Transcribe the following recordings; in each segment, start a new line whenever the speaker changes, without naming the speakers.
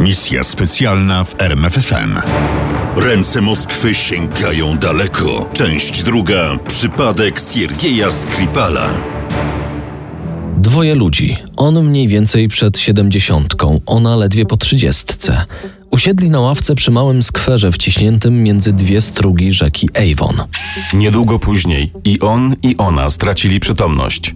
Misja specjalna w RMFFM.
Ręce Moskwy sięgają daleko. Część druga. Przypadek Siergieja Skripala.
Dwoje ludzi, on mniej więcej przed siedemdziesiątką, ona ledwie po trzydziestce, usiedli na ławce przy małym skwerze wciśniętym między dwie strugi rzeki Avon.
Niedługo później i on, i ona stracili przytomność.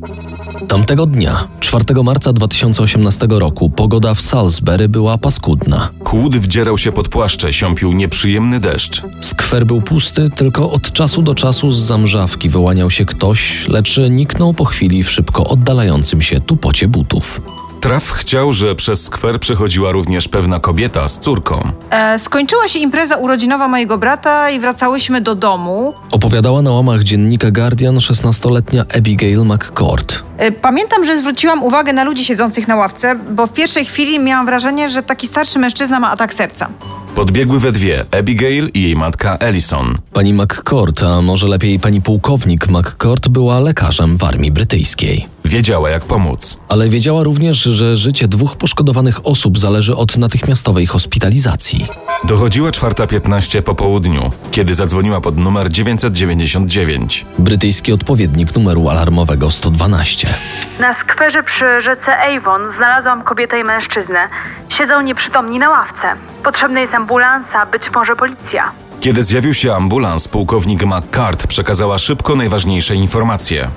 Tamtego dnia, 4 marca 2018 roku, pogoda w Salisbury była paskudna.
Kłód wdzierał się pod płaszcze, siąpił nieprzyjemny deszcz.
Skwer był pusty, tylko od czasu do czasu z zamrzawki wyłaniał się ktoś, lecz niknął po chwili w szybko oddalającym się tupocie butów.
Traf chciał, że przez skwer przechodziła również pewna kobieta z córką.
E, skończyła się impreza urodzinowa mojego brata i wracałyśmy do domu.
Opowiadała na łamach dziennika Guardian 16-letnia Abigail McCord.
E, pamiętam, że zwróciłam uwagę na ludzi siedzących na ławce, bo w pierwszej chwili miałam wrażenie, że taki starszy mężczyzna ma atak serca.
Podbiegły we dwie Abigail i jej matka Ellison.
Pani McCord, a może lepiej pani pułkownik McCord, była lekarzem w armii brytyjskiej.
Wiedziała, jak pomóc.
Ale wiedziała również, że życie dwóch poszkodowanych osób zależy od natychmiastowej hospitalizacji.
Dochodziła 4.15 po południu, kiedy zadzwoniła pod numer 999.
Brytyjski odpowiednik numeru alarmowego 112.
Na skwerze przy rzece Avon znalazłam kobietę i mężczyznę. Siedzą nieprzytomni na ławce. Potrzebny jest ambulansa, być może policja.
Kiedy zjawił się ambulans, pułkownik McCart przekazała szybko najważniejsze informacje.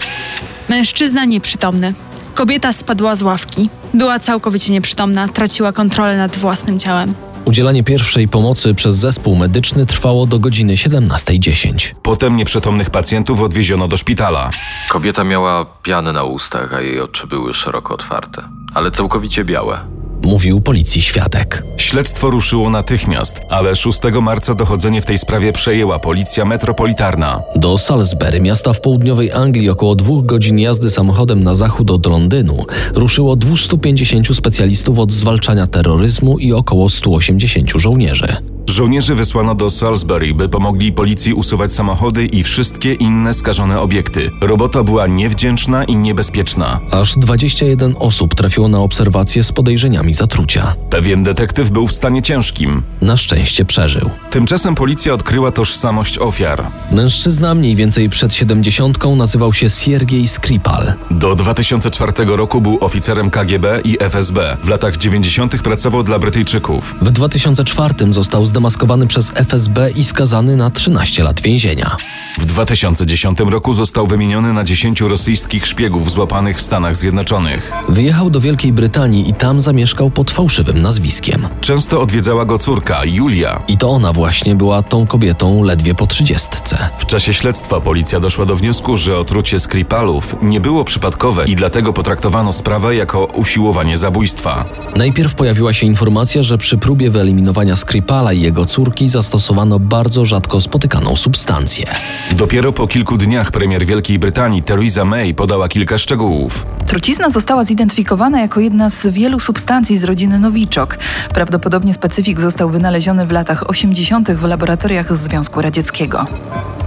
Mężczyzna nieprzytomny. Kobieta spadła z ławki. Była całkowicie nieprzytomna, traciła kontrolę nad własnym ciałem.
Udzielanie pierwszej pomocy przez zespół medyczny trwało do godziny 17.10.
Potem nieprzytomnych pacjentów odwieziono do szpitala.
Kobieta miała pianę na ustach, a jej oczy były szeroko otwarte, ale całkowicie białe.
Mówił policji świadek.
Śledztwo ruszyło natychmiast, ale 6 marca dochodzenie w tej sprawie przejęła policja metropolitarna.
Do Salisbury, miasta w południowej Anglii, około dwóch godzin jazdy samochodem na zachód od Londynu, ruszyło 250 specjalistów od zwalczania terroryzmu i około 180 żołnierzy.
Żołnierzy wysłano do Salisbury, by pomogli policji usuwać samochody i wszystkie inne skażone obiekty. Robota była niewdzięczna i niebezpieczna.
Aż 21 osób trafiło na obserwację z podejrzeniami zatrucia.
Pewien detektyw był w stanie ciężkim.
Na szczęście przeżył.
Tymczasem policja odkryła tożsamość ofiar.
Mężczyzna mniej więcej przed 70 nazywał się Siergiej Skripal.
Do 2004 roku był oficerem KGB i FSB. W latach 90. pracował dla Brytyjczyków.
W 2004 został zdemaskowany przez FSB i skazany na 13 lat więzienia.
W 2010 roku został wymieniony na 10 rosyjskich szpiegów złapanych w Stanach Zjednoczonych.
Wyjechał do Wielkiej Brytanii i tam zamieszkał pod fałszywym nazwiskiem.
Często odwiedzała go córka, Julia.
I to ona właśnie była tą kobietą ledwie po trzydziestce.
W czasie śledztwa policja doszła do wniosku, że otrucie Skripalów nie było przypadkowe i dlatego potraktowano sprawę jako usiłowanie zabójstwa.
Najpierw pojawiła się informacja, że przy próbie wyeliminowania Skripala i jego córki zastosowano bardzo rzadko spotykaną substancję.
Dopiero po kilku dniach premier Wielkiej Brytanii Theresa May podała kilka szczegółów.
Trucizna została zidentyfikowana jako jedna z wielu substancji z rodziny nowiczok. Prawdopodobnie specyfik został wynaleziony w latach 80. w laboratoriach Związku Radzieckiego.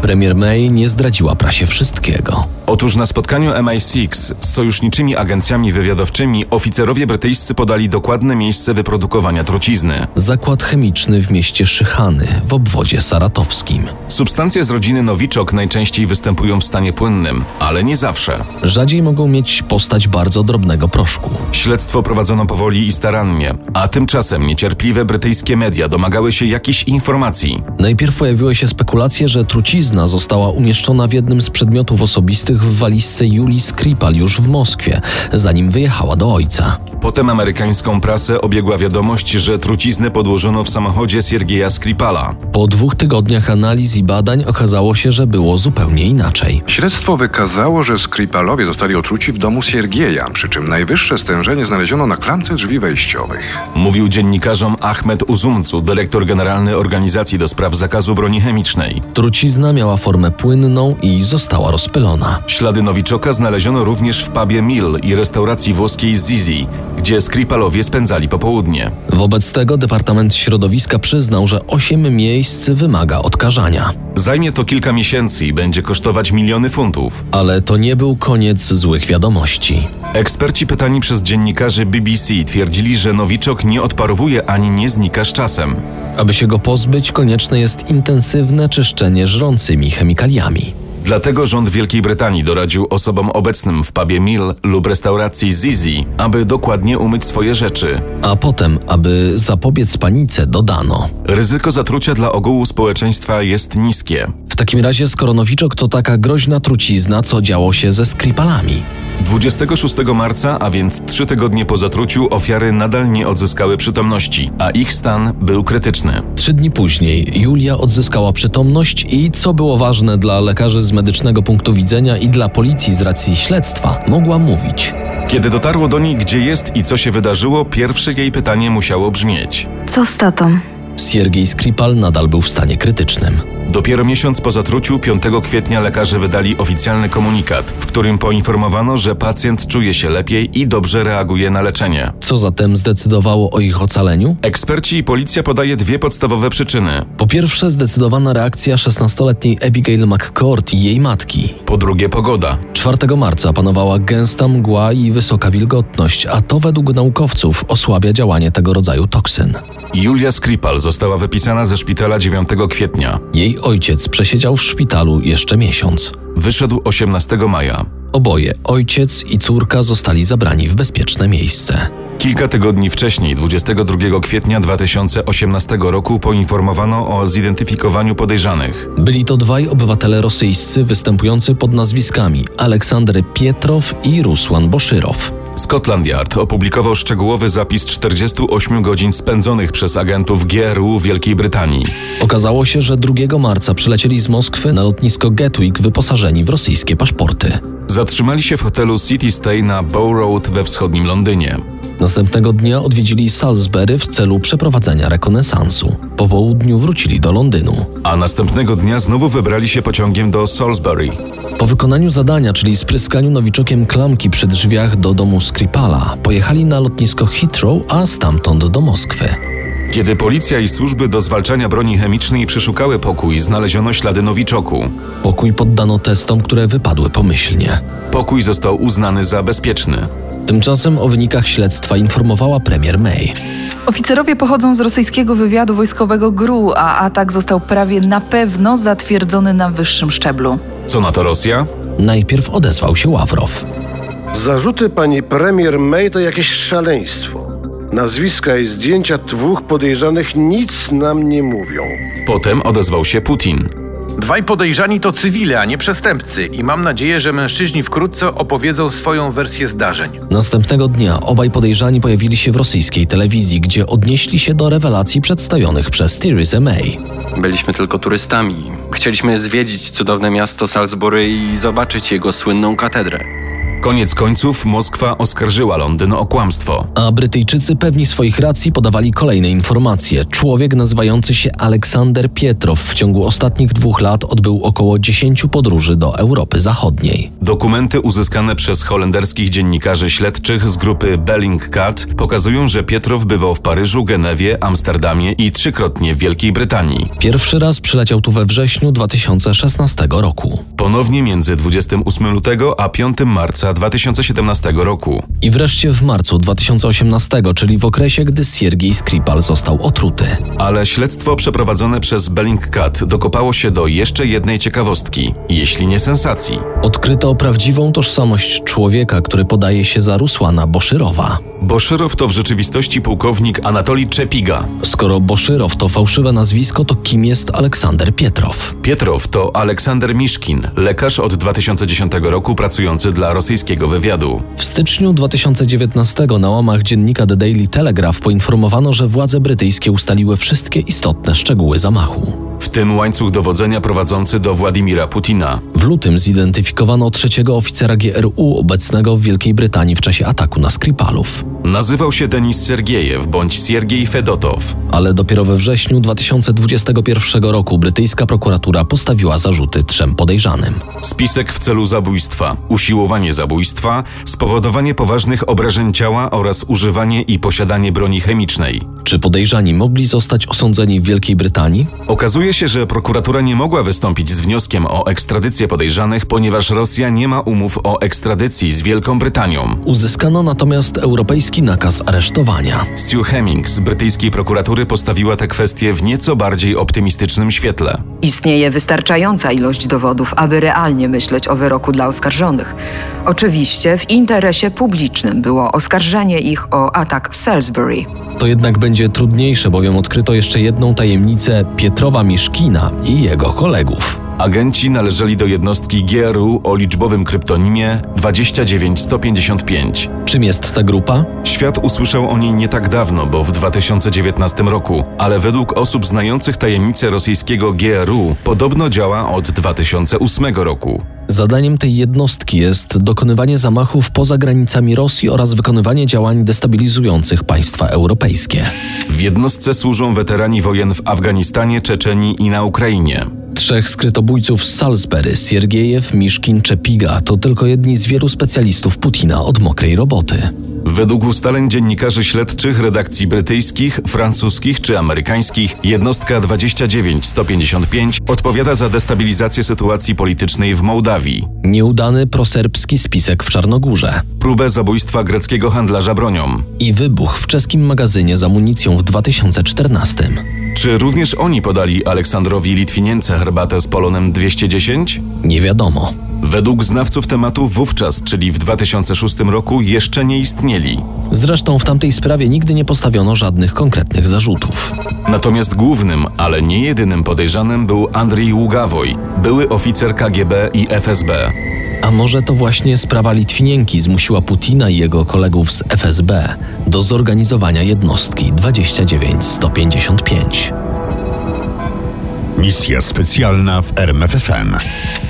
Premier May nie zdradziła prasie wszystkiego.
Otóż na spotkaniu MI6 z sojuszniczymi agencjami wywiadowczymi oficerowie brytyjscy podali dokładne miejsce wyprodukowania trucizny.
Zakład chemiczny w mieście Szychany w obwodzie saratowskim.
Substancje z rodziny nowiczok najczęściej występują w stanie płynnym, ale nie zawsze.
Rzadziej mogą mieć postać bardzo drobnego proszku.
Śledztwo prowadzono powoli i starannie, a tymczasem niecierpliwe brytyjskie media domagały się jakichś informacji.
Najpierw pojawiły się spekulacje, że trucizna została umieszczona w jednym z przedmiotów osobistych w walizce Julii Skripal już w Moskwie, zanim wyjechała do ojca.
Potem amerykańską prasę obiegła wiadomość, że truciznę podłożono w samochodzie Siergieja Skripala.
Po dwóch tygodniach analiz i badań okazało się, że było zupełnie inaczej.
Śledztwo wykazało, że Skripalowie zostali otruci w domu Siergieja, przy czym najwyższe stężenie znaleziono na klamce drzwi wejściowych.
Mówił dziennikarzom Ahmed Uzumcu, dyrektor generalny organizacji do spraw zakazu broni chemicznej.
Trucizna miała miała formę płynną i została rozpylona.
Ślady Nowiczoka znaleziono również w pubie Mill i restauracji włoskiej Zizi, gdzie Skripalowie spędzali popołudnie.
Wobec tego Departament Środowiska przyznał, że 8 miejsc wymaga odkażania.
Zajmie to kilka miesięcy i będzie kosztować miliony funtów.
Ale to nie był koniec złych wiadomości.
Eksperci pytani przez dziennikarzy BBC twierdzili, że Nowiczok nie odparowuje ani nie znika z czasem.
Aby się go pozbyć, konieczne jest intensywne czyszczenie żrącymi chemikaliami.
Dlatego rząd Wielkiej Brytanii doradził osobom obecnym w pubie Mill lub restauracji Zizi, aby dokładnie umyć swoje rzeczy.
A potem, aby zapobiec panice, dodano.
Ryzyko zatrucia dla ogółu społeczeństwa jest niskie.
W takim razie, skoro Nowiczok to taka groźna trucizna, co działo się ze Skripalami.
26 marca, a więc trzy tygodnie po zatruciu, ofiary nadal nie odzyskały przytomności, a ich stan był krytyczny.
Trzy dni później Julia odzyskała przytomność i, co było ważne dla lekarzy z medycznego punktu widzenia i dla policji z racji śledztwa, mogła mówić.
Kiedy dotarło do niej, gdzie jest i co się wydarzyło, pierwsze jej pytanie musiało brzmieć:
Co z tatą?
Siergiej Skripal nadal był w stanie krytycznym.
Dopiero miesiąc po zatruciu, 5 kwietnia, lekarze wydali oficjalny komunikat, w którym poinformowano, że pacjent czuje się lepiej i dobrze reaguje na leczenie.
Co zatem zdecydowało o ich ocaleniu?
Eksperci i policja podaje dwie podstawowe przyczyny.
Po pierwsze, zdecydowana reakcja 16-letniej Abigail McCourt i jej matki.
Po drugie, pogoda.
4 marca panowała gęsta mgła i wysoka wilgotność, a to według naukowców osłabia działanie tego rodzaju toksyn.
Julia Skripal została wypisana ze szpitala 9 kwietnia.
Jej ojciec przesiedział w szpitalu jeszcze miesiąc.
Wyszedł 18 maja.
Oboje, ojciec i córka, zostali zabrani w bezpieczne miejsce.
Kilka tygodni wcześniej, 22 kwietnia 2018 roku, poinformowano o zidentyfikowaniu podejrzanych.
Byli to dwaj obywatele rosyjscy występujący pod nazwiskami Aleksander Pietrow i Rusłan Boszyrow.
Scotland Yard opublikował szczegółowy zapis 48 godzin spędzonych przez agentów GRU Wielkiej Brytanii.
Okazało się, że 2 marca przylecieli z Moskwy na lotnisko Gatwick wyposażeni w rosyjskie paszporty.
Zatrzymali się w hotelu City Stay na Bow Road we wschodnim Londynie.
Następnego dnia odwiedzili Salisbury w celu przeprowadzenia rekonesansu. Po południu wrócili do Londynu.
A następnego dnia znowu wybrali się pociągiem do Salisbury.
Po wykonaniu zadania, czyli spryskaniu nowiczokiem klamki przy drzwiach do domu Skripala, pojechali na lotnisko Heathrow, a stamtąd do Moskwy.
Kiedy policja i służby do zwalczania broni chemicznej przeszukały pokój, znaleziono ślady nowiczoku.
Pokój poddano testom, które wypadły pomyślnie.
Pokój został uznany za bezpieczny.
Tymczasem o wynikach śledztwa informowała premier May.
Oficerowie pochodzą z rosyjskiego wywiadu wojskowego GRU, a atak został prawie na pewno zatwierdzony na wyższym szczeblu.
Co na to Rosja?
Najpierw odezwał się Ławrow.
Zarzuty pani premier May to jakieś szaleństwo. Nazwiska i zdjęcia dwóch podejrzanych nic nam nie mówią.
Potem odezwał się Putin.
Dwaj podejrzani to cywile, a nie przestępcy i mam nadzieję, że mężczyźni wkrótce opowiedzą swoją wersję zdarzeń.
Następnego dnia obaj podejrzani pojawili się w rosyjskiej telewizji, gdzie odnieśli się do rewelacji przedstawionych przez Theresa May.
Byliśmy tylko turystami. Chcieliśmy zwiedzić cudowne miasto Salisbury i zobaczyć jego słynną katedrę.
Koniec końców Moskwa oskarżyła Londyn o kłamstwo.
A Brytyjczycy pewni swoich racji podawali kolejne informacje. Człowiek nazywający się Aleksander Pietrow w ciągu ostatnich dwóch lat odbył około 10 podróży do Europy Zachodniej.
Dokumenty uzyskane przez holenderskich dziennikarzy śledczych z grupy Bellingcat pokazują, że Pietrow bywał w Paryżu, Genewie, Amsterdamie i trzykrotnie w Wielkiej Brytanii.
Pierwszy raz przyleciał tu we wrześniu 2016 roku.
Ponownie między 28 lutego a 5 marca 2017 roku.
I wreszcie w marcu 2018, czyli w okresie, gdy Siergiej Skripal został otruty.
Ale śledztwo przeprowadzone przez Bellingcat dokopało się do jeszcze jednej ciekawostki, jeśli nie sensacji.
Odkryto prawdziwą tożsamość człowieka, który podaje się za Rusłana Boszyrowa.
Boszyrow to w rzeczywistości pułkownik Anatolii Czepiga.
Skoro Boszyrow to fałszywe nazwisko, to kim jest Aleksander Pietrow?
Pietrow to Aleksander Miszkin, lekarz od 2010 roku pracujący dla rosyjskich Wywiadu.
W styczniu 2019 na łamach dziennika The Daily Telegraph poinformowano, że władze brytyjskie ustaliły wszystkie istotne szczegóły zamachu.
w tym łańcuch dowodzenia prowadzący do Władimira Putina.
W lutym zidentyfikowano trzeciego oficera GRU obecnego w Wielkiej Brytanii w czasie ataku na Skripalów.
Nazywał się Denis Sergiejew bądź Siergiej Fedotow.
Ale dopiero we wrześniu 2021 roku brytyjska prokuratura postawiła zarzuty trzem podejrzanym.
Spisek w celu zabójstwa, usiłowanie zabójstwa, spowodowanie poważnych obrażeń ciała oraz używanie i posiadanie broni chemicznej.
Czy podejrzani mogli zostać osądzeni w Wielkiej Brytanii?
Okazuje się, że prokuratura nie mogła wystąpić z wnioskiem o ekstradycję podejrzanych, ponieważ Rosja nie ma umów o ekstradycji z Wielką Brytanią.
Uzyskano natomiast europejski nakaz aresztowania.
Stu Hemmings z brytyjskiej prokuratury postawiła tę kwestię w nieco bardziej optymistycznym świetle.
Istnieje wystarczająca ilość dowodów, aby realnie myśleć o wyroku dla oskarżonych. Oczywiście w interesie publicznym było oskarżenie ich o atak w Salisbury.
To jednak będzie trudniejsze, bowiem odkryto jeszcze jedną tajemnicę Pietrowa Miszkina i jego kolegów.
Agenci należeli do jednostki GRU o liczbowym kryptonimie 29155.
Czym jest ta grupa?
Świat usłyszał o niej nie tak dawno, bo w 2019 roku, ale według osób znających tajemnicę rosyjskiego GRU podobno działa od 2008 roku.
Zadaniem tej jednostki jest dokonywanie zamachów poza granicami Rosji oraz wykonywanie działań destabilizujących państwa europejskie.
W jednostce służą weterani wojen w Afganistanie, Czeczenii i na Ukrainie.
Trzech skrytobójców z Salisbury, Siergiejew, Miszkin, Czepiga to tylko jedni z wielu specjalistów Putina od mokrej roboty.
Według ustaleń dziennikarzy śledczych redakcji brytyjskich, francuskich czy amerykańskich, jednostka 29155 odpowiada za destabilizację sytuacji politycznej w Mołdawii.
Nieudany proserbski spisek w Czarnogórze.
Próbę zabójstwa greckiego handlarza bronią.
I wybuch w czeskim magazynie z amunicją w 2014.
Czy również oni podali Aleksandrowi Litwinience herbatę z polonem 210?
Nie wiadomo.
Według znawców tematu wówczas, czyli w 2006 roku, jeszcze nie istnieli.
Zresztą w tamtej sprawie nigdy nie postawiono żadnych konkretnych zarzutów.
Natomiast głównym, ale nie jedynym podejrzanym był Andrzej Ługawoj, były oficer KGB i FSB.
A może to właśnie sprawa Litwinienki zmusiła Putina i jego kolegów z FSB do zorganizowania jednostki 29155.
Misja specjalna w RMFFM.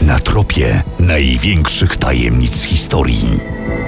Na tropie największych tajemnic historii.